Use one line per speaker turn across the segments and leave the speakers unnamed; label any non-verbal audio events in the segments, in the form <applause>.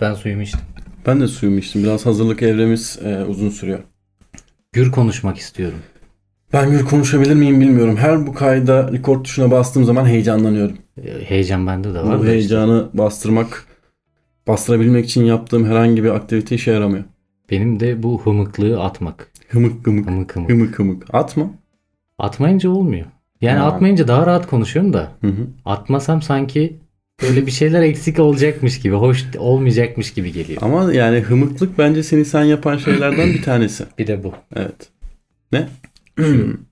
Ben suyumu içtim.
Ben de suyumu içtim. Biraz hazırlık evremiz e, uzun sürüyor.
Gür konuşmak istiyorum.
Ben gür konuşabilir miyim bilmiyorum. Her bu kayda record tuşuna bastığım zaman heyecanlanıyorum.
Ee, Heyecan bende de var.
Bu
da işte.
heyecanı bastırmak, bastırabilmek için yaptığım herhangi bir aktivite işe yaramıyor.
Benim de bu hımıklığı atmak.
Hımık hımık.
Hımık hımık.
Hımık hımık. Atma.
Atmayınca olmuyor. Yani
Ha.
atmayınca daha rahat konuşuyorum da.
Hı hı.
Atmasam sanki böyle bir şeyler eksik olacakmış gibi, hoş olmayacakmış gibi geliyor.
Ama yani hımıklık bence seni sen yapan şeylerden bir tanesi.
Bir de bu.
Evet. Ne?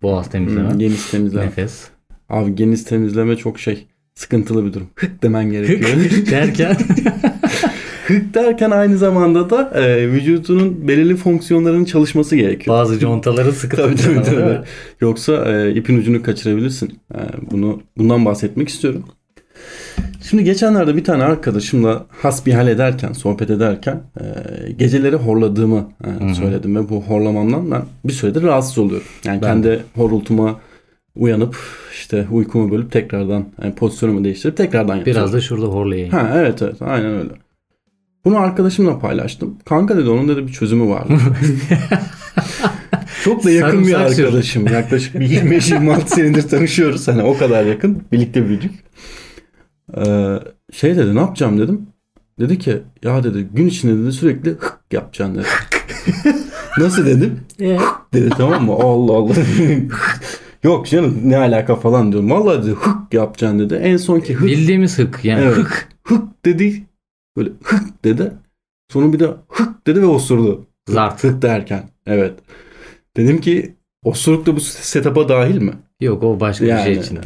Boğaz temizleme.
Hmm, geniz temizleme.
Nefes.
Abi geniz temizleme çok şey sıkıntılı bir durum. Hık demen <laughs> gerekiyor.
Derken
Hık derken aynı zamanda da e, vücudunun belirli fonksiyonlarının
<laughs>
çalışması gerekiyor.
bazı contaları sıkı
Tabii
tutacaksın
tabii,
ama değil
tabii.
mi?
Yoksa e, ipin ucunu kaçırabilirsin. E, bunu bundan bahsetmek istiyorum. Şimdi geçenlerde bir tane arkadaşımla hasbihal ederken, sohbet ederken e, geceleri horladığımı e,
hı.
söyledim ve bu horlamamdan ben bir süredir rahatsız oluyorum. Yani
Ben
kendi horultuma uyanıp işte uykumu bölüp tekrardan e, pozisyonumu değiştirip tekrardan yapıyorum.
Biraz da şurada horlayayım.
Ha evet evet aynen öyle. Bunu arkadaşımla paylaştım. Kanka dedi onun dedi bir çözümü vardı. Çok da yakın bir
Sarımsak sür.
arkadaşım. Yaklaşık bir 25-26 senedir tanışıyoruz. Hani o kadar yakın. Birlikte büyüdük. Ee, şey dedi ne yapacağım dedim. Dedi ki ya dedi gün içinde dedi sürekli hık yapacaksın dedi. Nasıl dedim?
Ee,
dedi tamam mı? Allah Allah. <laughs> Yok canım ne alaka falan diyorum. Vallahi dedi hık yapacaksın dedi. En son ki hık
bildiğimiz hık yani
Evet.
hık.
hık dedi. Böyle hık dedi. Sonra bir de hık dedi ve osurdu.
Zart.
Hık derken. Evet. Dedim ki osuruk da bu setup'a dahil mi?
Yok o başka bir şey için.
e,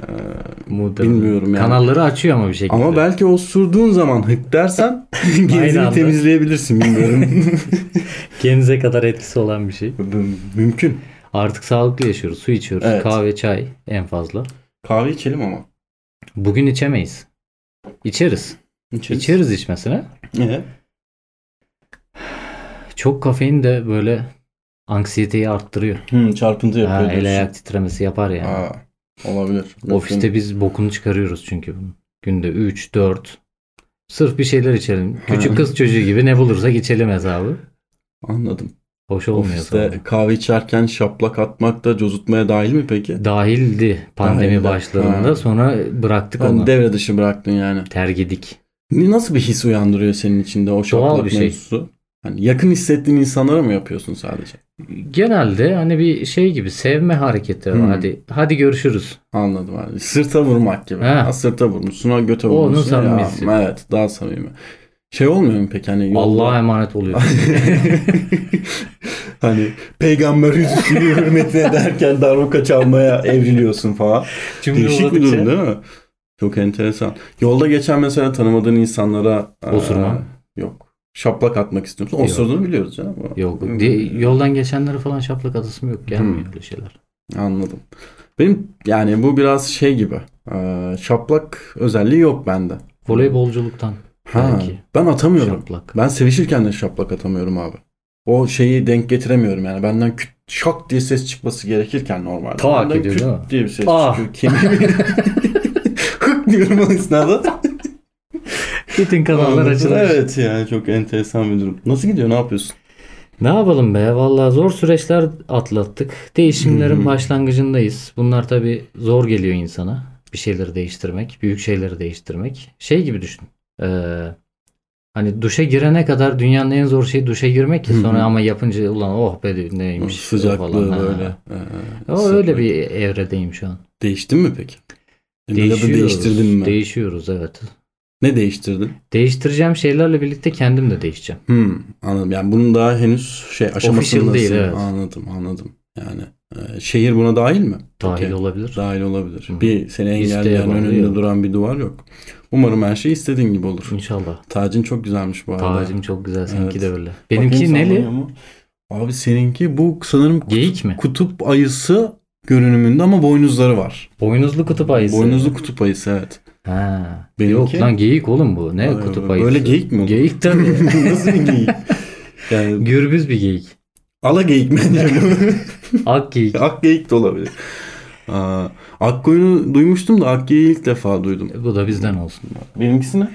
Muhtemelen.
bilmiyorum yani.
Kanalları açıyor ama bir şekilde.
Ama belki osurduğun zaman hık dersen
<laughs> Aynı
gezini
anda.
temizleyebilirsin bilmiyorum. <laughs>
Genize kadar etkisi olan bir şey.
Müm- Mümkün.
Artık sağlıklı yaşıyoruz. Su içiyoruz.
Evet.
Kahve, çay en fazla.
Kahve içelim ama.
Bugün içemeyiz. İçeriz.
İçeriz.
İçeriz içmesine.
Ee,
Çok kafein de böyle anksiyeteyi arttırıyor.
hı, çarpıntı yapıyor
Ha, el
diyorsun.
ayak titremesi yapar yani.
Aa, olabilir.
Ofiste biz bokunu çıkarıyoruz çünkü bunun. Günde 3, 4. Sırf bir şeyler içelim. Küçük kız çocuğu gibi ne bulursak içelim hesabı.
Anladım.
Hoş şey olmuyor
Ofiste
sonra.
kahve içerken şaplak atmak da cozutmaya dahil mi peki?
Dahildi pandemi
Dahildi.
başlarında.
Ha.
Sonra bıraktık
Ben
onu.
devre dışı bıraktın yani.
Tergidik.
Ne- Nasıl bir his uyandırıyor senin içinde o şaplak
bir şey.
mevzusu? Hani yakın hissettiğin insanlara mı yapıyorsun sadece?
Genelde hani bir şey gibi sevme hareketi.
Hmm.
Hadi hadi görüşürüz.
Anladım abi. Sırta vurmak gibi.
He.
Ha, sırta vurmuşsun, ha göte
O onun
vurmuşsun. Ya,
samimisi.
evet, daha samimi. Şey olmuyor mu peki hani yolda-
Allah'a emanet oluyor.
<laughs> hani peygamber yüzüstü hürmetine ederken darbuka çalmaya evriliyorsun falan. Değişik bir durum değil mi? Çok enteresan. Yolda geçen mesela tanımadığın insanlara
Osurma.
eee, yok. Şaplak atmak istiyorsun.
Yok.
Osurduğunu biliyoruz canım.
Yok.
Hmm.
di- Yoldan geçenlere falan şaplak atasım yok. Gelmiyor
Hmm.
öyle şeyler.
Anladım. Benim yani bu biraz şey gibi. eee, şaplak özelliği yok bende.
Voleybolculuktan
Ha,
Belki.
Ben atamıyorum.
şaplak.
Ben sevişirken de şaplak atamıyorum abi. O şeyi denk getiremiyorum yani. Benden küt şak diye ses çıkması gerekirken normalde.
Tak
Benden
ediyor
küt
değil mi?
diye bir ses
Ah.
çıkıyor. Kemiğimi <laughs> hık diyorum o esnada.
<laughs> Bütün kanallar açılmış.
Evet yani çok enteresan bir durum. Nasıl gidiyor ne yapıyorsun?
Ne yapalım be? Vallahi zor süreçler atlattık. Değişimlerin
Hı hı. <laughs>
başlangıcındayız. Bunlar tabii zor geliyor insana. Bir şeyleri değiştirmek, büyük şeyleri değiştirmek. Şey gibi düşün. Ee, hani duşa girene kadar dünyanın en zor şeyi duşa girmek ki
Hı hı.
sonra ama yapınca ulan oh be diyor, neymiş
Sıcaklığı
falan. Ha.
böyle. ee,
O
sıcak.
öyle bir evredeyim şu an.
Değiştin mi peki? Ya da
Değişiyoruz.
E, değiştirdin mi?
Değişiyoruz evet.
ne değiştirdin?
Değiştireceğim şeylerle birlikte kendim de değişeceğim.
Hmm, anladım. Yani bunun daha henüz şey aşamasındasın.
Official değil, evet.
Anladım anladım. Yani e, şehir buna dahil mi?
Dahil
Okey.
olabilir.
Dahil olabilir.
Hı.
Bir seni
İsteğe
engelleyen
bağlı
önünde
yok.
duran bir duvar yok. Umarım her şey istediğin gibi olur.
İnşallah.
Tacin çok güzelmiş bu arada.
Tacım çok güzel. Seninki
Evet.
de öyle.
Bakayım
Benimki neli?
sallanıyor mu? Abi seninki bu sanırım kutup,
Geyik mi?
kutup ayısı görünümünde ama boynuzları var.
Boynuzlu kutup ayısı.
Boynuzlu kutup ayısı evet.
Ha.
Benimki-
Yok lan geyik oğlum bu. Ne
Ay,
kutup
böyle
ayısı?
geyik mi olur?
Geyik tabii.
<laughs> Nasıl bir geyik? Yani
Gürbüz bir geyik.
ala
<laughs>
geyik bence
Ak geyik.
bu. <laughs> ak geyik de olabilir. Aa, ak koyunu duymuştum da ak geyiği ilk defa duydum.
Bu da bizden olsun.
Benimkisi ne?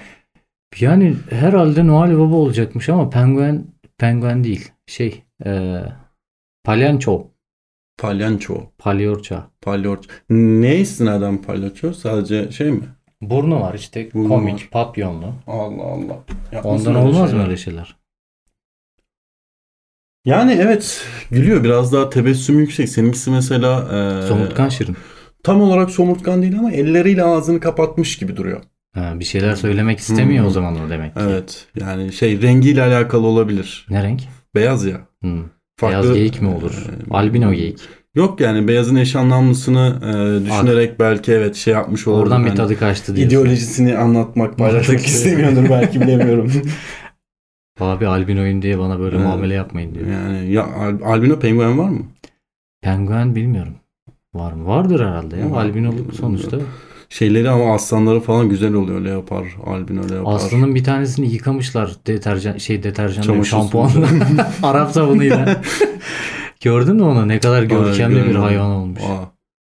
Yani herhalde Noel Baba olacakmış ama penguen penguen değil. Şey e, palyanço.
Palyanço.
Palyorça.
Palyaç. Ne istinaden palyaço? Sadece şey mi?
Burnu var işte
Burnu
komik
var.
papyonlu.
Allah Allah. Yapmasın
Ondan
öyle
olmaz
şey.
mı öyle şeyler?
Yani evet gülüyor biraz daha tebessüm yüksek. Seninkisi mesela e,
Somurtkan Şirin.
tam olarak somurtkan değil ama elleriyle ağzını kapatmış gibi duruyor.
Ha, bir şeyler söylemek istemiyor
Hı.
o zaman o demek ki.
Hmm. Evet yani şey rengiyle alakalı olabilir.
Ne renk?
Beyaz ya.
Hı.
Farklı,
Beyaz geyik mi olur?
e,
Albino geyik.
Yok yani beyazın eş anlamlısını e, düşünerek belki evet şey yapmış olabilir.
Oradan bir
Yani
tadı kaçtı diyorsun.
ideolojisini anlatmak paylaşmak
<laughs> Mantıklı.
istemiyordur
<laughs>
belki bilemiyorum.
Abi albinoyum diye bana böyle
Evet.
muamele yapmayın diyor.
yani ya al- albino penguen var mı?
Penguen bilmiyorum. Var mı? Vardır herhalde ya.
Yok.
Albinoluk sonuçta.
Şeyleri ama aslanları falan güzel oluyor leopar, albino leopar.
Aslanın bir tanesini yıkamışlar deterjan şey deterjan diyorum,
Çamaşır
şampuanla. <laughs> Arap sabunuyla. Gördün mü onu? Ne kadar görkemli bir
görmedim.
hayvan olmuş.
Aa,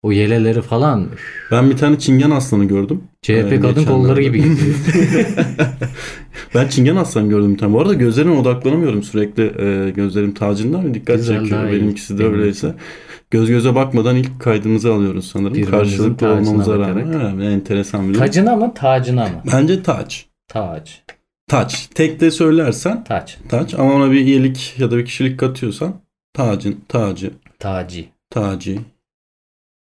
O yeleleri falan üf,
ben bir tane çingen aslanı gördüm.
CHP
Ee,
kadın kolları
geçenlerde.
gibi
<laughs>
gidiyor.
Ben çingen aslan gördüm bir tane. Bu arada gözlerime odaklanamıyorum sürekli. e, gözlerim tacından ve dikkat
Güzel,
çekiyor.
daha iyi.
Benimkisi de
Benim
öyleyse. Göz göze bakmadan ilk kaydımızı alıyoruz sanırım.
Birbirimizin
Karşılıklı
tacına
olmamıza rağmen.
bakarak.
Önemli, enteresan bir durum.
Tacına mı tacına mı?
Bence taç.
Taç.
Taç. Tek de söylersen
Taç.
taç ama ona bir iyilik ya da bir kişilik katıyorsan tacın, tacı,
Taci.
taci.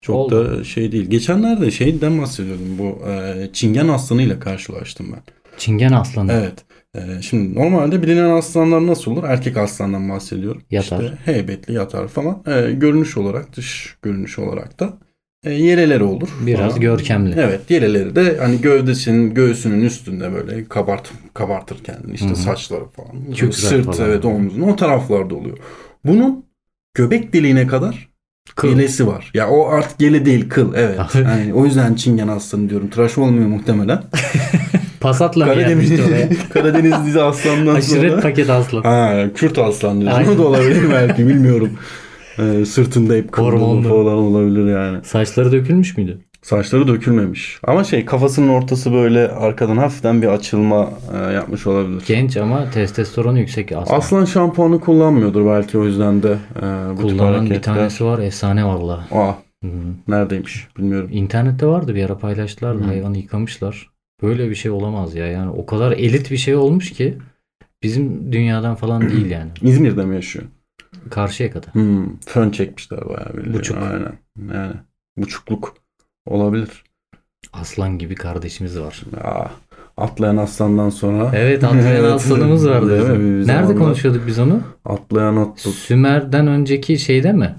Çok
Oldu.
da şey değil. Geçenlerde şeyden bahsediyordum. Bu e, çingen aslanıyla karşılaştım ben.
Çingen aslanı.
Evet. Ee, şimdi normalde bilinen aslanlar nasıl olur? Erkek aslandan bahsediyorum.
Yatar.
İşte heybetli yatar falan. Ee, görünüş olarak, dış görünüş olarak da e, yeleleri olur.
Biraz
falan.
görkemli.
Evet, yeleleri de hani gövdesinin, göğsünün üstünde böyle kabart kabartır kendini. İşte
Hı hı.
saçları falan.
Çok güzel
sırt
falan.
evet omzun o taraflarda oluyor. Bunun göbek deliğine kadar
Kıl.
Yelesi var. Ya o artık yele değil kıl evet.
<laughs>
Yani o yüzden çingen aslanı diyorum. Tıraş
<laughs>
olmuyor muhtemelen.
Pasatla mı
Karadeniz,
gelmişti
<laughs>
oraya?
Karadenizli aslandan
Aşiret
sonra.
paket
<laughs>
aslan.
Ha, Kürt aslan diyorsun.
Aynen.
O da olabilir
<laughs>
belki bilmiyorum. Ee, sırtında hep kırmızı
Hormonlu.
falan olabilir yani.
Saçları dökülmüş müydü?
Saçları dökülmemiş. Ama şey kafasının ortası böyle arkadan hafiften bir açılma e, yapmış olabilir.
Genç ama testosteronu yüksek aslan.
Aslan şampuanı kullanmıyordur belki o yüzden de e, bu tip
Kullanan
hareketler.
bir tanesi var efsane valla.
Aa
Hı hı.
neredeymiş bilmiyorum.
İnternette vardı bir ara paylaştılar da
Hı.
hayvanı yıkamışlar. Böyle bir şey olamaz ya yani o kadar elit bir şey olmuş ki bizim dünyadan falan
<clears throat>
değil yani.
İzmir'de mi yaşıyor?
Karşıya kadar.
Hmm, fön çekmişler bayağı bildiğin.
Buçuk.
Aynen. Yani buçukluk olabilir.
Aslan gibi kardeşimiz var.
Aa, atlayan aslandan sonra
Evet
<laughs>
Atlayan
Evet.
aslanımız vardı.
Ah. Değil mi?
bizim. Nerede
Bir zamanlar-
konuşuyorduk biz onu?
atlayan atlı
Sümer'den önceki şeyde mi?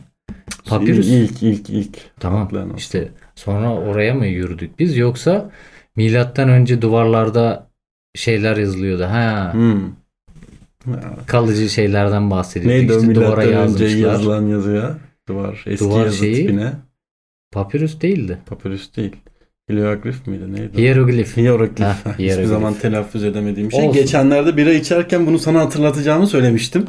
Şey,
Papyrus.
İlk ilk ilk.
Tamam.
Atlayan aslan.
İşte sonra oraya mı yürüdük biz yoksa milattan önce duvarlarda şeyler yazılıyordu. Ha,
Hmm. Ya,
kalıcı şeylerden bahsediyorduk.
Neydi o
Ee, işte duvara
milattan önce
yazmışlar.
yazılan yazıya? Duvar. Eski
Duvar
yazı
şeyi-
tipine.
Papyrus değildi.
Papyrus değil. Hieroglif miydi? Neydi? o?
Hieroglif.
Hieroglif.
Ha,
Hiçbir
hieroglif.
zaman telaffuz edemediğim şey.
Olsun.
Geçenlerde bira içerken bunu sana hatırlatacağımı söylemiştim.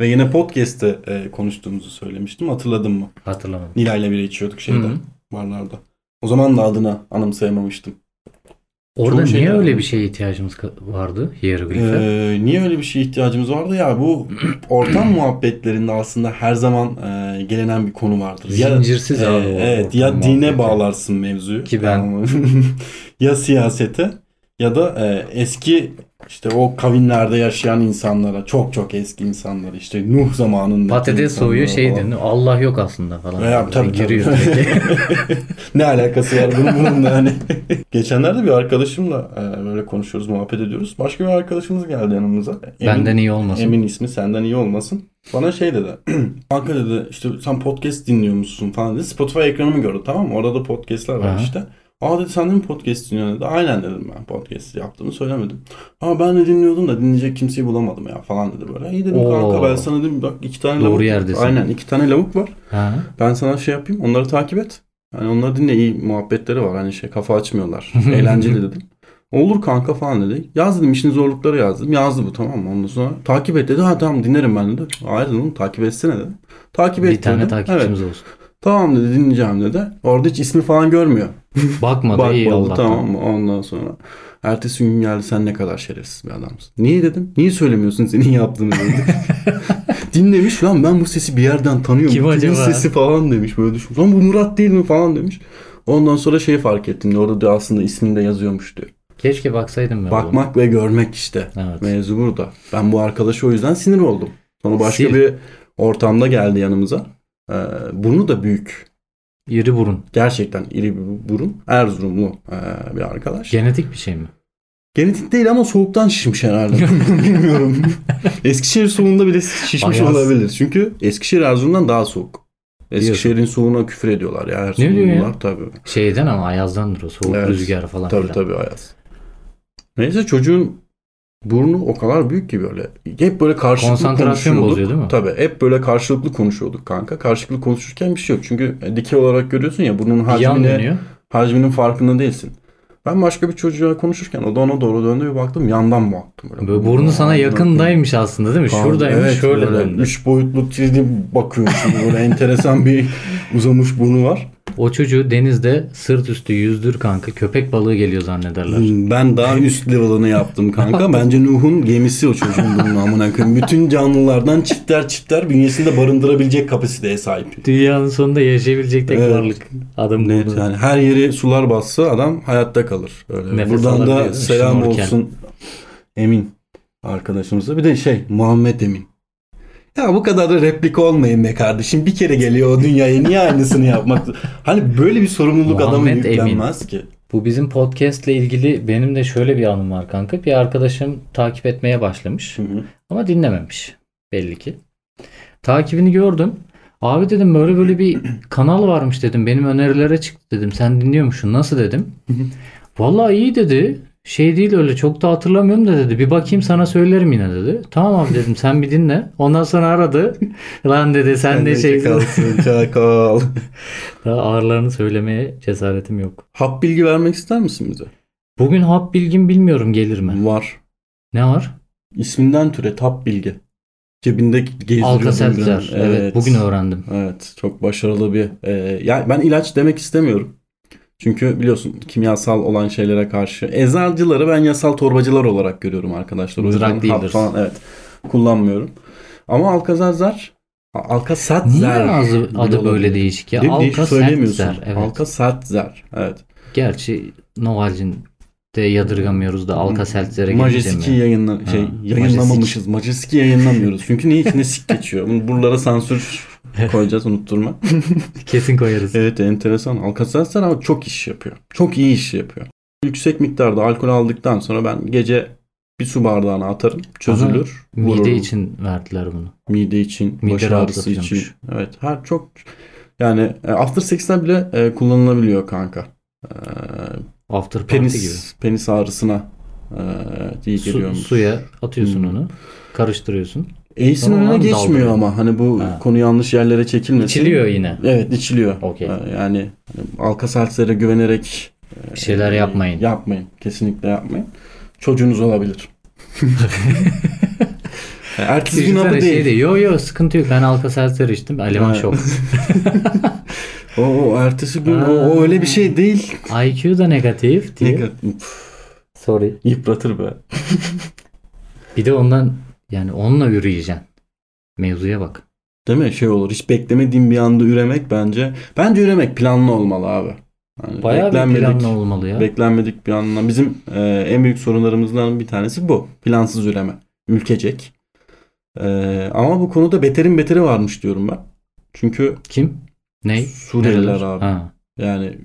Ve yine podcast'te e, konuştuğumuzu söylemiştim. Hatırladın mı?
Hatırlamadım.
Nilay'la bira içiyorduk şeyde,
Hı.
barlarda. O zaman da adını anımsayamamıştım.
Orada
Çoğu
niye
şeyler
öyle
var.
bir şeye ihtiyacımız ka- vardı hieroglife?
Ee, niye öyle bir şeye ihtiyacımız vardı ya?
<clears throat>
Bu ortam muhabbetlerinde aslında her zaman e, gelenen bir konu vardır. Ya,
Zincirsiz
e,
abi o
evet
ortam
ya dine
muhabbeti.
bağlarsın mevzuyu.
Ki ben-
Tamam <laughs> mı? ya siyasete ya da e, eski işte o kavimlerde yaşayan insanlara çok çok eski insanlara işte Nuh zamanında
Patates soğuyor şey deniyor. Allah yok aslında falan.
Ya, tabii, tabii.
Giriyor
<laughs>
direkt.
ne alakası var bunun bununla hani. <laughs> Geçenlerde bir arkadaşımla e, böyle konuşuyoruz, muhabbet ediyoruz. Başka bir arkadaşımız geldi yanımıza. Emin,
Benden iyi olmasın.
Emin ismi senden iyi olmasın. Bana şey dedi. <clears throat> Kanka dedi işte sen podcast dinliyor musun falan dedi. Spotify ekranımı gördü tamam mı? Orada da podcastler var
Aha.
işte. Aa dedi sen de mi podcast dinliyorsun dedi. Aynen dedim ben podcast yaptığımı söylemedim. Aa ben de dinliyordum da dinleyecek kimseyi bulamadım ya falan dedi böyle. İyi dedim
Oo.
kanka ben sana dedim bak iki tane
Doğru
lavuk.
yerdesin.
Aynen iki tane lavuk var.
Ha?
Ben sana şey yapayım onları takip et. Hani onları dinle iyi muhabbetleri var. Hani şey
<laughs>
kafa açmıyorlar. Eğlenceli dedim. Olur kanka falan dedi. Yaz dedim işin zorlukları yazdım. Yazdı bu tamam mı? Ondan sonra takip et dedi. Ha tamam dinlerim ben dedi. Hayır dedim oğlum, takip etsene dedim. Takip et
Bir tane
dedim. Evet.
takipçimiz olsun.
Tamam dedi dinleyeceğim dedi. Orada hiç ismi falan görmüyor.
Bakmadı iyi
Bakmadı
Allah'tan.
tamam mı? Ondan sonra. Ertesi gün geldi sen ne kadar şerefsiz bir adamsın. Niye dedim? Niye söylemiyorsun senin
<laughs>
yaptığını dedi. Dinlemiş lan ben bu sesi bir yerden tanıyorum.
Kim
Bu kimin
acaba?
sesi falan demiş böyle düşün. Lan bu Murat değil mi falan demiş. Ondan sonra şeyi fark ettim. diyor, Orada diyor, aslında ismini de yazıyormuş diyor.
Keşke baksaydım ben
Bakmak ve görmek işte.
bunu. Evet.
Mevzu burada. Ben bu arkadaşa o yüzden sinir oldum. Sonra başka
Sil.
bir ortamda geldi yanımıza. Ee, burnu da büyük.
İri burun.
Gerçekten iri bir burun. Erzurumlu ee, bir arkadaş.
Genetik bir şey mi?
Genetik değil ama soğuktan şişmiş
<laughs>
herhalde. Bilmiyorum. Eskişehir soğuğunda bile şişmiş
Ayaz.
olabilir. Çünkü Eskişehir Erzurum'dan daha soğuk. Eskişehir'in soğuğuna küfür ediyorlar ya
diyor
Erzurumlular
ya?
tabii.
Şeyden ama ayazdandır o soğuk
Evet.
rüzgar falan
Tabii
filan.
tabii Ayaz. Neyse çocuğun burnu o kadar büyük ki böyle. Hep böyle karşılıklı
Konsantrasyon
konuşuyorduk.
bozuyor değil mi?
Tabii hep böyle karşılıklı konuşuyorduk kanka. Karşılıklı konuşurken bir şey yok. Çünkü dikey olarak görüyorsun ya burnun
Yan
hacmine,
dönüyor.
hacminin farkında değilsin. Ben başka bir çocuğa konuşurken o da ona doğru döndü bir baktım yandan baktım.
Böyle burnu sana yakındaymış aslında değil mi?
Kanka,
Şuradaymış
evet,
şöyle
böyle
döndü.
Üç boyutlu 3D bakıyorsun böyle enteresan bir uzamış burnu var.
O çocuğu denizde sırt üstü yüzdür kanka. Köpek balığı geliyor zannederler.
Ben daha üst level'ını yaptım <laughs> kanka. Bence Nuh'un gemisi o çocuğun bunun amına koyayım. Bütün canlılardan çiftler çiftler bünyesinde barındırabilecek kapasiteye sahip.
Dünyanın sonunda yaşayabilecek tek
Evet.
varlık. Adam
Net
bunu.
yani her yeri sular bassa adam hayatta kalır. Öyle.
Nefes
Buradan
alabiliyor,
da
değil mi?
selam
Şnorkel.
olsun Emin arkadaşımıza. Bir de şey Muhammed Emin. Ya bu kadar da replik olmayın be kardeşim. Bir kere geliyor o dünyaya niye
<laughs>
aynısını yapmak? Hani böyle bir sorumluluk adamın
Muhammed Emin.
yüklenmez ki.
Bu bizim podcastle ilgili benim de şöyle bir anım var kanka. Bir arkadaşım takip etmeye başlamış. Ama dinlememiş belli ki. Takibini gördüm. Abi dedim böyle böyle bir kanal varmış dedim. Benim önerilere çıktı dedim. Sen dinliyormuşsun. Nasıl dedim. Vallahi iyi dedi. Şey değil öyle çok da hatırlamıyorum da dedi. Bir bakayım sana söylerim yine dedi. Tamam abi dedim sen bir dinle. Ondan sonra aradı. Lan dedi sen de şey.
Çakalsın çakal.
Daha ağırlarını söylemeye cesaretim yok.
Hap bilgi vermek ister misin bize?
Bugün hap bilgim bilmiyorum gelir mi?
Var.
Ne var?
İsminden türet hap bilgi. Cebinde gezdiriyor.
Alka-Seltzer. Evet. bugün öğrendim.
Evet çok başarılı bir e, yani ben ilaç demek istemiyorum. Çünkü biliyorsun kimyasal olan şeylere karşı eczacıları ben yasal torbacılar olarak görüyorum arkadaşlar. O
Drug
yüzden hap
dealers.
falan evet kullanmıyorum. Ama Alka-Seltzer
Niye
Alka-Seltzer
adı, adı böyle değişik ya? Alka
söylemiyorsun.
Seltzer. Evet.
Alka-Seltzer. Evet.
Gerçi Novalcin de yadırgamıyoruz da Alka Seltzer'e
Majeski
geleceğim.
yayınla
Ha,
şey
Majestic.
yayınlamamışız. Majeski yayınlamıyoruz. Çünkü niye içine sik geçiyor? Bunu
<laughs>
buralara sansür koyacağız unutturma.
Kesin koyarız.
Evet enteresan. Alka-Seltzer ama çok iş yapıyor. Çok iyi iş yapıyor. Yüksek miktarda alkol aldıktan sonra ben gece bir su bardağına atarım. Çözülür.
Mide
vururum.
için verdiler bunu.
Mide için.
Mide
baş ağrısı için.
rahatlatıyormuş.
Evet. Her çok yani e, after sex'ten bile e, kullanılabiliyor kanka. E,
After party gibi.
penis penis ağrısına e, iyi
Su-
geliyormuş.
suya atıyorsun
Hmm.
onu. Karıştırıyorsun.
Ace'in
Tamam,
önüne
abi,
geçmiyor
daldırıyor.
ama hani bu
Ha.
konu yanlış yerlere çekilmesin.
İçiliyor yine.
Evet içiliyor.
Okey.
Ee, Yani alka seltzlere güvenerek
Bir şeyler
e,
yapmayın.
Yapmayın. Kesinlikle yapmayın.
<laughs>
Çocuğunuz olabilir. Ertesi gün
Düşünsene
adı
şey
değil.
de, yo yo sıkıntı yok ben Alka Seltzer içtim. Eleman
Ha. <laughs>
şok.
O, o ertesi gün o,
Aa.
o öyle bir şey değil.
IQ da negatif diye.
Ne kadar- Üf,
Sorry.
Yıpratır be.
Bir de ondan yani onunla yürüyeceksin. Mevzuya bak.
Değil mi? Şey olur. Hiç beklemediğim bir anda üremek bence. Bence üremek planlı olmalı abi. Yani
Bayağı bir
beklenmedik-
planlı olmalı ya.
Beklenmedik bir anlamda. Bizim e, en büyük sorunlarımızdan bir tanesi bu. Plansız üreme. Ülkecek. E, ama bu konuda beterin beteri varmış diyorum ben. Çünkü
Kim? Ney?
Suriyeliler
Nereler?
abi.
Ha.
Yani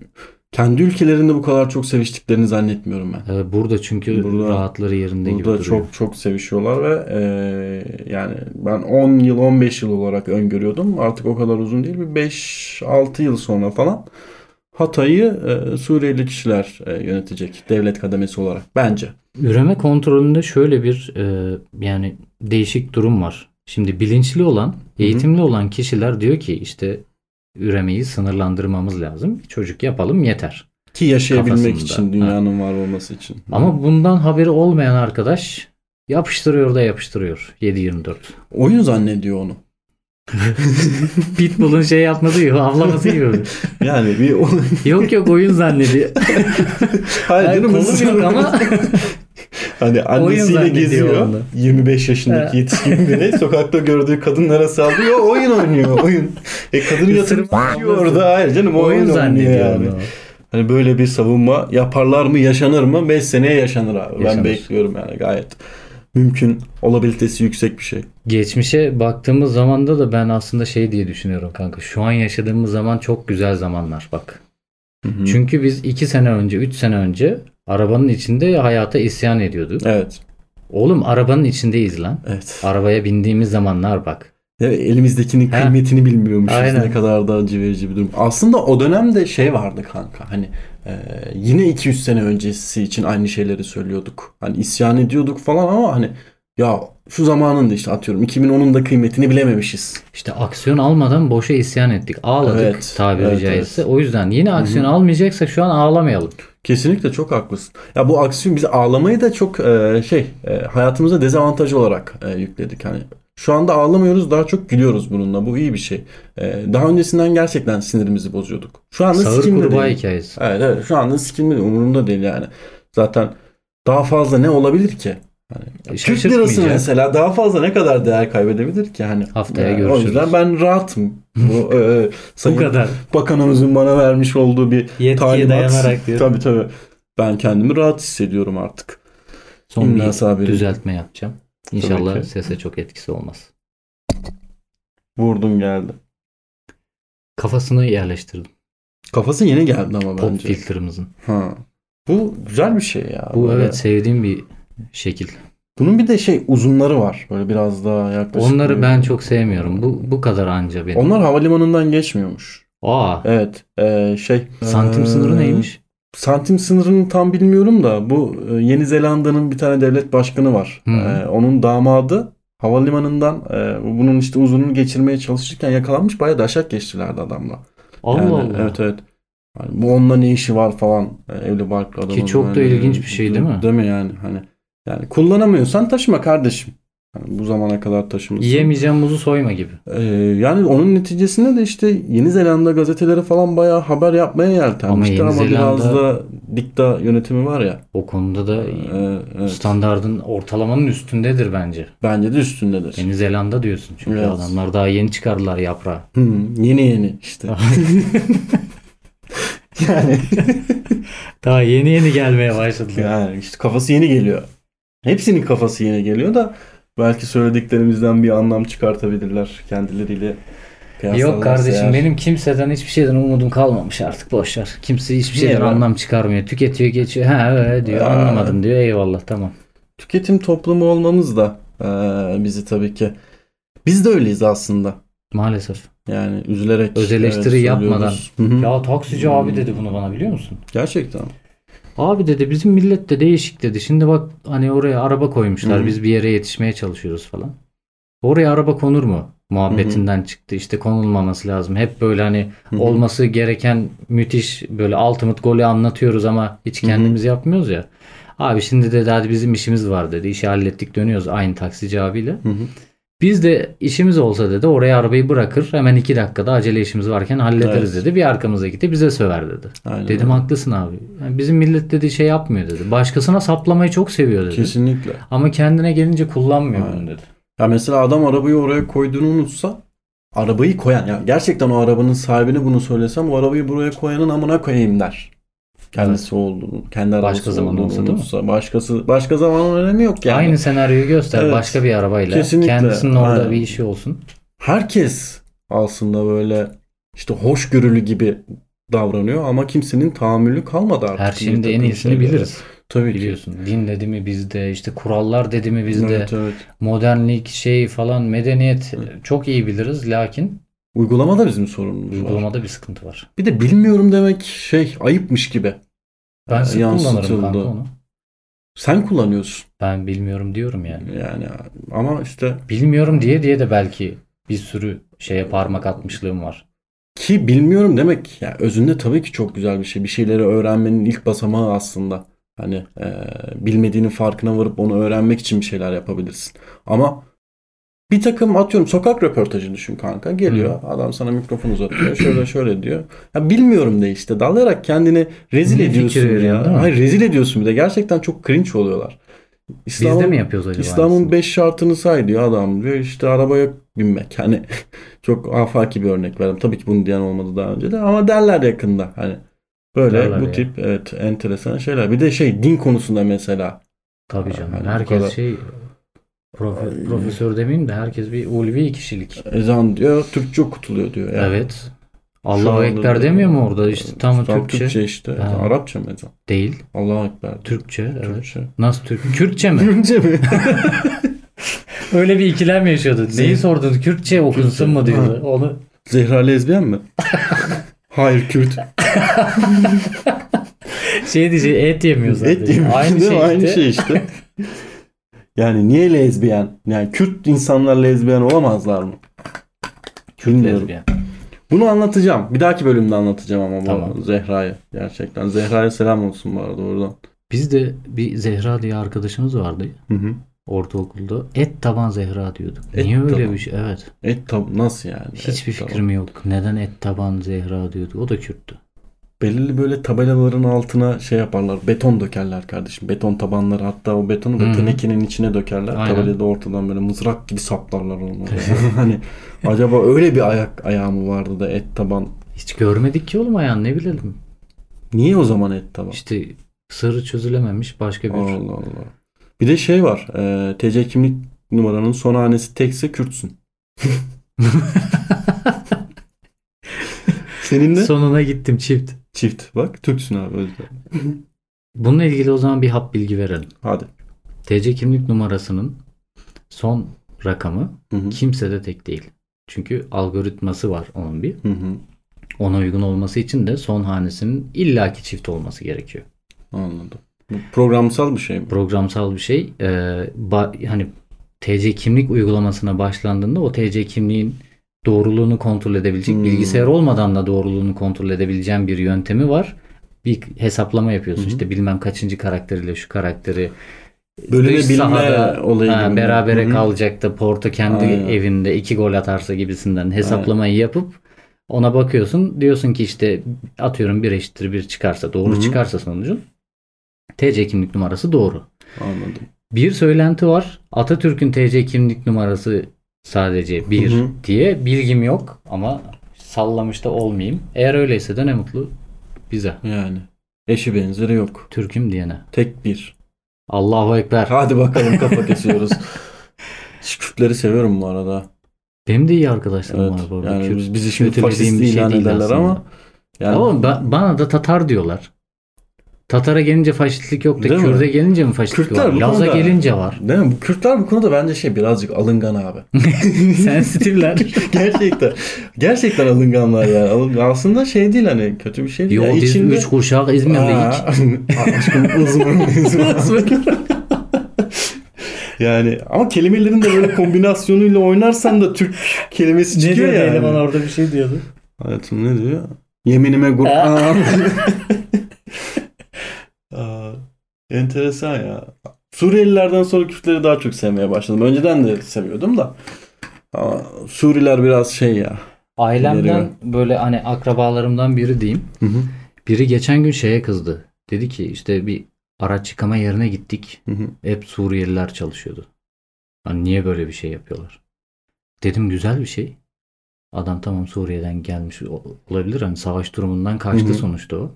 kendi ülkelerinde bu kadar çok seviştiklerini zannetmiyorum ben.
Ee, Burada çünkü
Burada-
rahatları yerinde gibi
Burada
duruyor.
çok çok sevişiyorlar ve e, yani ben 10 yıl 15 yıl olarak öngörüyordum. Artık o kadar uzun değil. Bir 5-6 yıl sonra falan Hatay'ı e, Suriyeli kişiler e, yönetecek devlet kademesi olarak bence.
Üreme kontrolünde şöyle bir e, yani değişik durum var. Şimdi bilinçli olan, eğitimli olan kişiler diyor ki işte üremeyi sınırlandırmamız lazım. Çocuk yapalım yeter.
Ki yaşayabilmek
Kafasında.
için, dünyanın var olması için.
Ama bundan haberi olmayan arkadaş yapıştırıyor da yapıştırıyor 7-24.
oyun zannediyor onu.
Pitbull'un şey yapması gibi, havlaması
<laughs>
gibi.
Yani bir
yok yok oyun zannediyor.
<laughs> Hayır
Hayır,
canım
kolum yok ama
Hani annesiyle
zannediyor
geziyor.
onu.
25 yaşındaki
He.
yetişkin biri
<laughs>
sokakta gördüğü kadınlara sallıyor. Oyun oynuyor oyun. E kadını yatırıp
Isırma.
yiyor orada. Hayır canım <laughs> oyun,
oyun
oynuyor
zannediyor.
yani.
onu.
Hani böyle bir savunma yaparlar mı yaşanır mı? 5 seneye yaşanır abi. Ben
Yaşanır.
bekliyorum yani gayet. Mümkün olabilitesi yüksek bir şey.
Geçmişe baktığımız zamanda da ben aslında şey diye düşünüyorum kanka. Şu an yaşadığımız zaman çok güzel zamanlar bak.
Hı-hı.
Çünkü biz 2 sene önce, 3 sene önce arabanın içinde hayata isyan ediyorduk.
Evet.
Oğlum arabanın içindeyiz lan.
Evet.
Arabaya bindiğimiz zamanlar bak.
Ya elimizdekinin
He.
kıymetini bilmiyormuşuz
Aynen.
ne kadar da acı verici bir durum. Aslında o dönemde şey vardı kanka hani e, yine 200 sene öncesi için aynı şeyleri söylüyorduk. Hani isyan ediyorduk falan ama hani ya şu zamanın da işte atıyorum 2010'un da kıymetini bilememişiz.
İşte aksiyon almadan boşa isyan ettik. Ağladık
Evet,
tabiri
evet,
caizse. O yüzden yine aksiyon almayacaksak şu an ağlamayalım.
Kesinlikle çok haklısın. Ya bu aksiyon bizi ağlamayı da çok e, şey e, hayatımıza dezavantaj olarak e, yükledik. Hani şu anda ağlamıyoruz daha çok gülüyoruz bununla. Bu iyi bir şey. E, daha öncesinden gerçekten sinirimizi bozuyorduk. Şu anda
Sağır
sikimde
kurbağa
değil.
hikayesi.
Evet evet şu anda sikimde değil, umurumda değil yani. Zaten daha fazla ne olabilir ki? Hani, Türk
Şaşırtmayacak.
lirası mesela daha fazla ne kadar değer kaybedebilir ki? Hani,
Haftaya
Yani O
görüşürüz.
yüzden ben rahatım.
<laughs>
Bu, e,
Bu
sayın
kadar.
bakanımızın bana vermiş olduğu bir
Yetkiye
talimat.
dayanarak diyorum.
Tabii tabii. Ben kendimi rahat hissediyorum artık.
Son bir
İmla sabiri.
düzeltme yapacağım. İnşallah
ki.
sese çok etkisi olmaz.
Vurdum geldi.
Kafasını yerleştirdim.
Kafası yeni geldi ama
Pop
bence.
filtre'ımızın.
Ha. Bu güzel bir şey ya.
Bu
Böyle-
evet sevdiğim bir şekil.
Bunun bir de şey uzunları var. Böyle biraz daha yaklaşık.
Onları
bir-
ben çok sevmiyorum. Bu bu kadar anca benim.
Onlar havalimanından geçmiyormuş.
Aa,
Evet. e, şey.
santim
e,
sınırı neymiş?
Santim sınırını tam bilmiyorum da bu e, Yeni Zelanda'nın bir tane devlet başkanı var.
Hı.
E, onun damadı havalimanından e, bunun işte uzununu geçirmeye çalışırken yakalanmış. Bayağı da aşak geçtilerdi adamla.
Allah
Yani,
Allah.
Evet evet. Yani bu onunla ne işi var falan e, evli barklı adamın.
Ki çok da
Yani,
ilginç bir şey değil mi?
Değil mi yani hani yani kullanamıyorsan taşıma kardeşim. Yani bu zamana kadar taşımışsın.
Yiyemeyeceğim muzu soyma gibi.
Ee, yani onun neticesinde de işte Yeni Zelanda gazeteleri falan bayağı haber yapmaya yeltenmişti ama,
Ama Yeni
biraz
Zelanda-
da dikta yönetimi var ya.
O konuda da
Ee, evet.
standardın ortalamanın üstündedir bence.
Bence de üstündedir.
Yeni Zelanda diyorsun çünkü
Evet.
adamlar daha yeni çıkardılar yaprağı.
Hı, yeni yeni işte. <laughs> yani,
Daha yeni yeni gelmeye <laughs> başladılar.
yani işte kafası yeni geliyor. Hepsinin kafası yeni geliyor da belki söylediklerimizden bir anlam çıkartabilirler kendileriyle.
Yok
kıyaslarlarsa
kardeşim
eğer.
benim kimseden hiçbir şeyden umudum kalmamış artık boşver. Kimse hiçbir
Niye
şeyden
be?
anlam çıkarmıyor. Tüketiyor geçiyor. Ha öyle diyor.
Aa.
Anlamadım diyor. Eyvallah tamam.
Tüketim toplumu olmamız da eee, bizi tabii ki biz de öyleyiz aslında.
Maalesef.
Yani üzülerek
Öz eleştiri yapmadan.
söylüyoruz. Hı hı.
Ya taksici abi dedi bunu bana biliyor musun?
Gerçekten.
Abi dedi bizim millet de değişik dedi. Şimdi bak hani oraya araba koymuşlar.
Hı hı.
Biz bir yere yetişmeye çalışıyoruz falan. Oraya araba konur mu? Muhabbetinden çıktı. İşte konulmaması lazım. Hep böyle hani
Hı hı.
olması gereken müthiş böyle ultimate golü anlatıyoruz ama hiç
Hı hı.
kendimiz yapmıyoruz ya. Abi şimdi dedi hadi bizim işimiz var dedi. İşi hallettik dönüyoruz aynı taksici abiyle.
Hı hı.
Biz de işimiz olsa dedi oraya arabayı bırakır hemen iki dakikada acele işimiz varken hallederiz
Evet.
dedi. Bir arkamıza gitti bize söver dedi.
Aynen
Dedim
öyle.
haklısın abi. Yani bizim millet dedi şey yapmıyor dedi. Başkasına saplamayı çok seviyor dedi.
Kesinlikle.
Ama kendine gelince kullanmıyor
Aynen.
bunu dedi.
Ya mesela adam arabayı oraya koyduğunu unutsa arabayı koyan ya gerçekten o arabanın sahibine bunu söylesem o arabayı buraya koyanın amına koyayım der. Kendisi olduğunu, kendi arabası
Başka zaman
olduğunu
olsa değil mi?
unutsa. Başkası, başka zamanın önemi yok yani.
Aynı senaryoyu göster
Evet.
başka bir arabayla.
Kesinlikle.
Kendisinin orada
Aynen.
bir işi olsun.
herkes aslında böyle işte hoşgörülü gibi davranıyor ama kimsenin tahammülü kalmadı artık.
Her şeyin
Bir
de en
takım
iyisini
şeylere.
biliriz.
Tabii ki.
Biliyorsun din dedi mi bizde işte kurallar dedi mi bizde
Evet, evet.
modernlik şey falan medeniyet çok iyi biliriz lakin
Uygulamada bizim sorunumuz var.
uygulamada bir sıkıntı var.
Bir de bilmiyorum demek şey ayıpmış gibi.
Ben
Ee,
sık kullanırım
yansıtıldı.
kanka onu.
Sen kullanıyorsun.
Ben bilmiyorum diyorum yani.
Yani ama işte
Bilmiyorum diye diye de belki bir sürü şeye parmak atmışlığım var.
ki bilmiyorum demek ya özünde tabii ki çok güzel bir şey. Bir şeyleri öğrenmenin ilk basamağı aslında. Hani e, bilmediğinin farkına varıp onu öğrenmek için bir şeyler yapabilirsin. Ama Bir takım atıyorum sokak röportajı düşün kanka. Geliyor adam sana mikrofon uzatıyor. Şöyle şöyle diyor. Ya bilmiyorum de işte dalayarak kendini rezil
Ne fikir
ediyorsun
veriyorsun, değil
ya.
mi?
Hayır rezil ediyorsun bir de. Gerçekten çok cringe oluyorlar.
Biz de mi yapıyoruz acaba?
İslam'ın
aynısını?
5 şartını say diyor adam diyor işte arabaya binmek hani <laughs> çok afaki bir örnek verdim. Tabii ki bunu diyen olmadı daha önce de ama derler yakında hani böyle
Derler
bu
ya.
tip evet enteresan şeyler. Bir de şey din konusunda mesela
Tabii canım.
Yani bu
herkes
kadar-
şey profe-
Ay.
profesör demeyeyim de herkes bir ulvi kişilik.
ezan diyor Türkçe okutuluyor diyor. Yani.
Evet.
Şu
Allahu
anda
Ekber
da-
demiyor mu orada? İşte tam, Türkçe,
işte.
Ha.
Arapça mı ezan?
değil.
Allahu Ekber.
Türkçe. evet.
Türkçe.
Nasıl Türk? Kürtçe mi?
Türkçe mi?
Öyle bir ikilem yaşıyordu. Neyi
Neyi?
sordun? Kürtçe
Kürtçe.
okunsun mu diyordu.
Ha.
Onu
Zehra
<laughs>
lezbiyen mi? Hayır Kürt.
şey diyecek et yemiyor zaten.
Et yemiş,
Aynı
<laughs> değil mi?
şey
Aynı
işte. <laughs>
şey işte. yani niye lezbiyen? Yani Kürt insanlar lezbiyen olamazlar mı? Bilmiyorum.
Lezbiyen.
Bunu anlatacağım. Bir dahaki bölümde anlatacağım ama bu
Tamam.
Zehra'yı. Gerçekten. Zehra'ya selam olsun bu arada oradan.
Bizde bir Zehra diye arkadaşımız vardı
Hı hı.
ortaokulda. Et taban Zehra diyorduk.
Et
Niye öyle
taban.
bir şey? Evet.
Et tab E, nasıl yani? E,
Hiçbir
Et tab-
fikrim yok. Neden et taban Zehra diyorduk? O da Kürttü.
Belirli böyle tabelaların altına şey yaparlar. Beton dökerler kardeşim. Beton tabanları hatta o betonu
Hı
da
hı.
tenekenin içine dökerler.
Aynen.
Tabelada ortadan böyle mızrak gibi
<laughs>
saplarlar onları. hani acaba öyle bir ayak ayağı mı vardı da et taban
Hiç görmedik ki oğlum ayağını ne bilelim.
Niye o zaman et taban?
İşte sırrı çözülememiş başka bir
Allah Allah. Bir de şey var. E, TC kimlik numaranın son hanesi
<laughs>
tekse Kürtsün. Senin de
sonuna gittim çift.
çift. Bak Türksün abi o yüzden.
Bununla ilgili o zaman bir hap bilgi verelim.
Hadi.
TC kimlik numarasının son rakamı
Hı hı.
kimse de tek değil. Çünkü algoritması var onun bir.
Hı hı.
Ona uygun olması için de son hanesinin illaki çift olması gerekiyor.
Anladım. Bu programsal bir şey mi?
Programsal bir şey. Ee, ba- hani TC kimlik uygulamasına başlandığında o TC kimliğin doğruluğunu kontrol edebilecek
Hmm.
bilgisayar olmadan da doğruluğunu kontrol edebileceğin bir yöntemi var. Bir hesaplama yapıyorsun.
Hı hı.
İşte bilmem kaçıncı karakteriyle şu karakteri
Bölüme
dış
bilme
sahada,
olayı
ha,
gibi mi?
berabere
Hı hı.
kalacak da Porto kendi
Aynen.
evinde iki gol atarsa gibisinden hesaplamayı yapıp ona bakıyorsun. Diyorsun ki işte atıyorum bir eşittir bir çıkarsa doğru
Hı hı.
çıkarsa sonucun TC kimlik numarası doğru.
Anladım.
Bir söylenti var. Atatürk'ün TC kimlik numarası sadece bir
Hı hı.
diye bilgim yok ama sallamış da olmayayım. Eğer öyleyse de ne mutlu bize.
Yani. Eşi benzeri yok.
Türk'üm diyene.
Tek bir.
Allahu Ekber.
Hadi bakalım <laughs> kafa kesiyoruz. Şu Kürtleri seviyorum bu arada.
Benim de iyi arkadaşlarım
Evet.
var bu arada.
Yani
Kürt
biz, bizi şimdi
kötülediğim
faşist
bir şey
ilan
değil
ederler
aslında.
ama yani
Ama ba- bana da Tatar diyorlar. Tatara gelince faşistlik yok da
Değil mi?
Kürt'e gelince mi faşistlik
Kürtler
var?
bu
Laz'a
konuda-
gelince
<laughs>
var.
değil mi? Bu Kürtler bu konuda bence şey birazcık alıngan abi. <laughs>
Sensitifler.
gerçekten. Gerçekten alınganlar yani. Alın- Aslında şey değil hani kötü bir şey
<laughs>
değil.
Yo
Ya
biz
içinde-
üç <laughs> kuşak
<laughs>
İzmirliyiz.
Aa,
<laughs>
Aşkım uzman Yani ama kelimelerin de böyle kombinasyonuyla oynarsan da Türk kelimesi çıkıyor ya. Yani.
orada bir şey diyordu.
Hayatım ne diyor? Yeminime gur...
Aa.
Aa, enteresan ya. Suriyelilerden sonra Kürtleri daha çok sevmeye başladım. Önceden de seviyordum da. Ama Suriler biraz şey ya.
<laughs> Ailemden
Veriyor.
böyle hani akrabalarımdan biri diyeyim.
Hı hı,
Biri geçen gün şeye kızdı. Dedi ki işte bir araç yıkama yerine gittik.
hı hı.
Hep Suriyeliler çalışıyordu. Hani niye böyle bir şey yapıyorlar? Dedim güzel bir şey. Adam tamam Suriye'den gelmiş o- olabilir. Hani savaş durumundan kaçtı
Hı hı.
sonuçta o.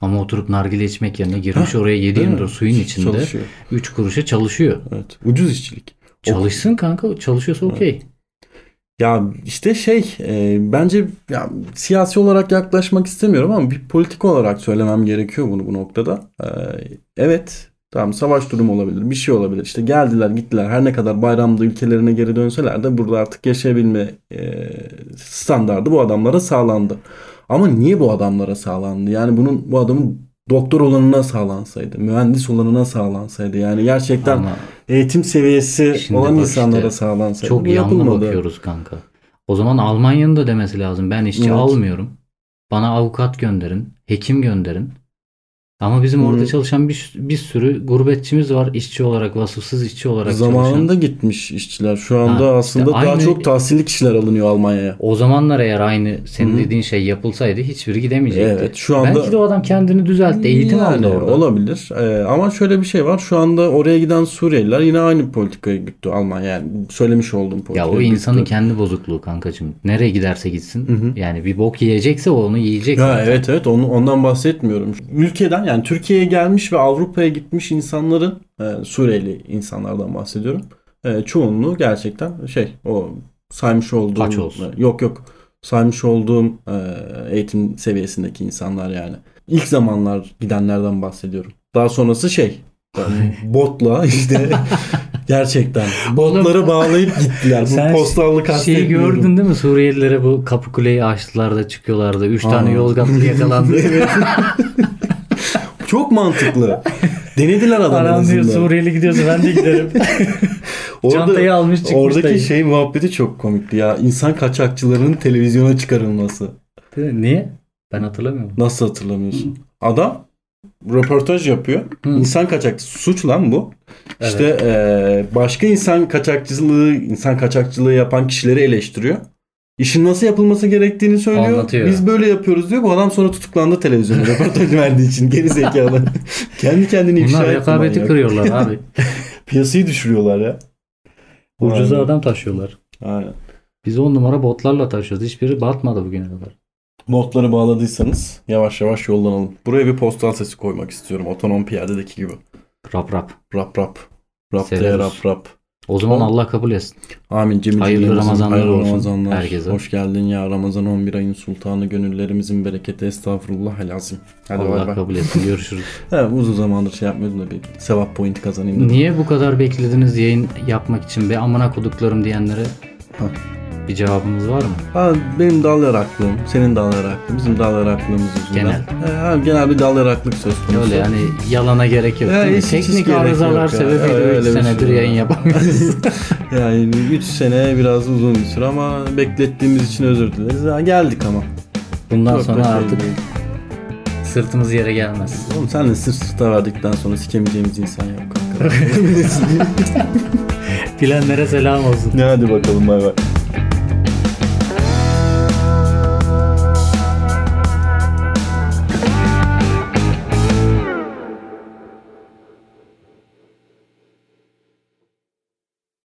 Ama oturup nargile içmek
<laughs>
yerine girmiş oraya 7-24
Değil mi?
suyun içinde.
Çalışıyor.
3 kuruşa çalışıyor.
Evet. Ucuz işçilik.
Çalışsın kanka. Çalışıyorsa okey.
Ya işte şey e, bence ya, siyasi olarak yaklaşmak istemiyorum ama bir politik olarak söylemem gerekiyor bunu bu noktada. E, evet tamam savaş durumu olabilir bir şey olabilir işte geldiler gittiler her ne kadar bayramda ülkelerine geri dönseler de burada artık yaşayabilme e, standardı bu adamlara sağlandı. Ama niye bu adamlara sağlandı? Yani bunun bu adamın doktor olanına sağlansaydı, mühendis olanına sağlansaydı yani gerçekten
Ama
eğitim seviyesi
Şimdi
olan
bak
insanlara
işte,
sağlansaydı
Çok
bu
yanlı
yapılmadı.
bakıyoruz kanka. O zaman Almanya'nın da demesi lazım. Ben işçi
Evet.
almıyorum. Bana avukat gönderin, hekim gönderin. Ama bizim orada
Hı.
çalışan bir, bir sürü gurbetçimiz var. işçi olarak, vasıfsız işçi olarak çalışan.
Zamanında gitmiş işçiler. Şu anda
Ha, işte
aslında daha
aynı-
çok tahsilli kişiler alınıyor Almanya'ya.
O zamanlar eğer aynı senin
Hı.
dediğin şey yapılsaydı hiçbiri gidemeyecekti.
Evet şu anda
Belki de o adam kendini düzeltti. Eğitim
Yani
aldı orada.
Olabilir. Ee, ama şöyle bir şey var. Şu anda oraya giden Suriyeliler yine aynı politikayı güttü Almanya. Yani söylemiş olduğum politikayı.
Ya o
güttü.
insanın kendi bozukluğu kankacığım. Nereye giderse gitsin.
hı.
Yani bir bok yiyecekse onu yiyecek.
Ya
zaten.
evet evet onu, ondan bahsetmiyorum. Ülkeden yani Türkiye'ye gelmiş ve Avrupa'ya gitmiş insanların e, Suriyeli insanlardan bahsediyorum. E, çoğunluğu gerçekten şey o saymış olduğum
Aç olsun.
yok yok saymış olduğum e, eğitim seviyesindeki insanlar yani. İlk zamanlar gidenlerden bahsediyorum. Daha sonrası şey
<laughs>
botla işte gerçekten botları bağlayıp gittiler.
Sen
Bu postallı
Şeyi
kastetmiyorum.
gördün değil mi? Suriyelilere bu Kapıkule'yi açtılar da çıkıyorlardı. Üç tane
Aa. <laughs>
Yozgatlı yakalandı.
Çok mantıklı. Denediler adamı. en
Aram diyor
azından.
Suriyeli gidiyorsa ben de giderim.
<laughs> Orada-
Çantayı almış çıkmış
Oradaki
dayı.
şey muhabbeti çok komikti ya. İnsan kaçakçılarının televizyona çıkarılması.
Niye? Ben hatırlamıyorum.
Nasıl hatırlamıyorsun? Adam röportaj yapıyor.
Hı.
İnsan kaçakçısı. Suç lan bu.
Evet.
İşte eee, başka insan kaçakçılığı, insan kaçakçılığı yapan kişileri eleştiriyor. İşin nasıl yapılması gerektiğini söylüyor.
Anlatıyor.
Biz böyle yapıyoruz diyor. Bu adam sonra
<laughs>
tutuklandı televizyonda röportaj verdiği için. Geri zekalı. Kendi kendini ifşa
Bunlar
etti
rekabeti
manyak.
kırıyorlar abi.
Piyasayı düşürüyorlar ya.
<laughs> Ucuza
Aynen.
adam taşıyorlar.
Aynen.
Biz on numara botlarla taşıyoruz. Hiçbiri batmadı bugüne kadar.
Notları bağladıysanız yavaş yavaş yollanalım. Buraya bir postal sesi koymak istiyorum. Otonom piyadedeki gibi.
Rap rap.
Rap rap. Rap de
Severiz.
rap rap.
O zaman
Ol-
Allah kabul etsin.
Amin Cemil.
Hayırlı
Cemil'imizin
Ramazanlar
hayırlı
olsun
Ramazanlar.
herkese.
Hoş geldin ya Ramazan 11 ayın sultanı gönüllerimizin bereketi estağfurullah helazim. Hadi
Allah
bay bay.
kabul etsin. Görüşürüz.
He, uzun zamandır şey yapmıyordum da bir sevap point kazanayım dedim.
Niye bu kadar beklediniz yayın yapmak için be amına koduklarım diyenlere
Ha.
bir cevabımız var mı?
Ha, benim dal yaraklığım, senin dal yaraklığın, bizim dal yaraklığımız yüzünden. He, ha, genel bir dal yaraklık söz konusu.
Öyle yani yalana gerek yok
Ya
değil mi?
hiç- hiç gerek
Teknik
yok
arızalar
ya.
sebebiyle
Öyle
3
bir şey
senedir
yok.
yayın yapamıyoruz.
<laughs> Yani 3 sene biraz uzun bir süre ama beklettiğimiz için özür dileriz. Ha, geldik ama.
Bundan
Çok da
sonra
şey
artık
değil.
sırtımız yere gelmez.
Oğlum senle sırt sırta verdikten sonra sikemeyeceğimiz insan yok kanka.
Bilenlere selam olsun.
ne hadi bakalım bay bay.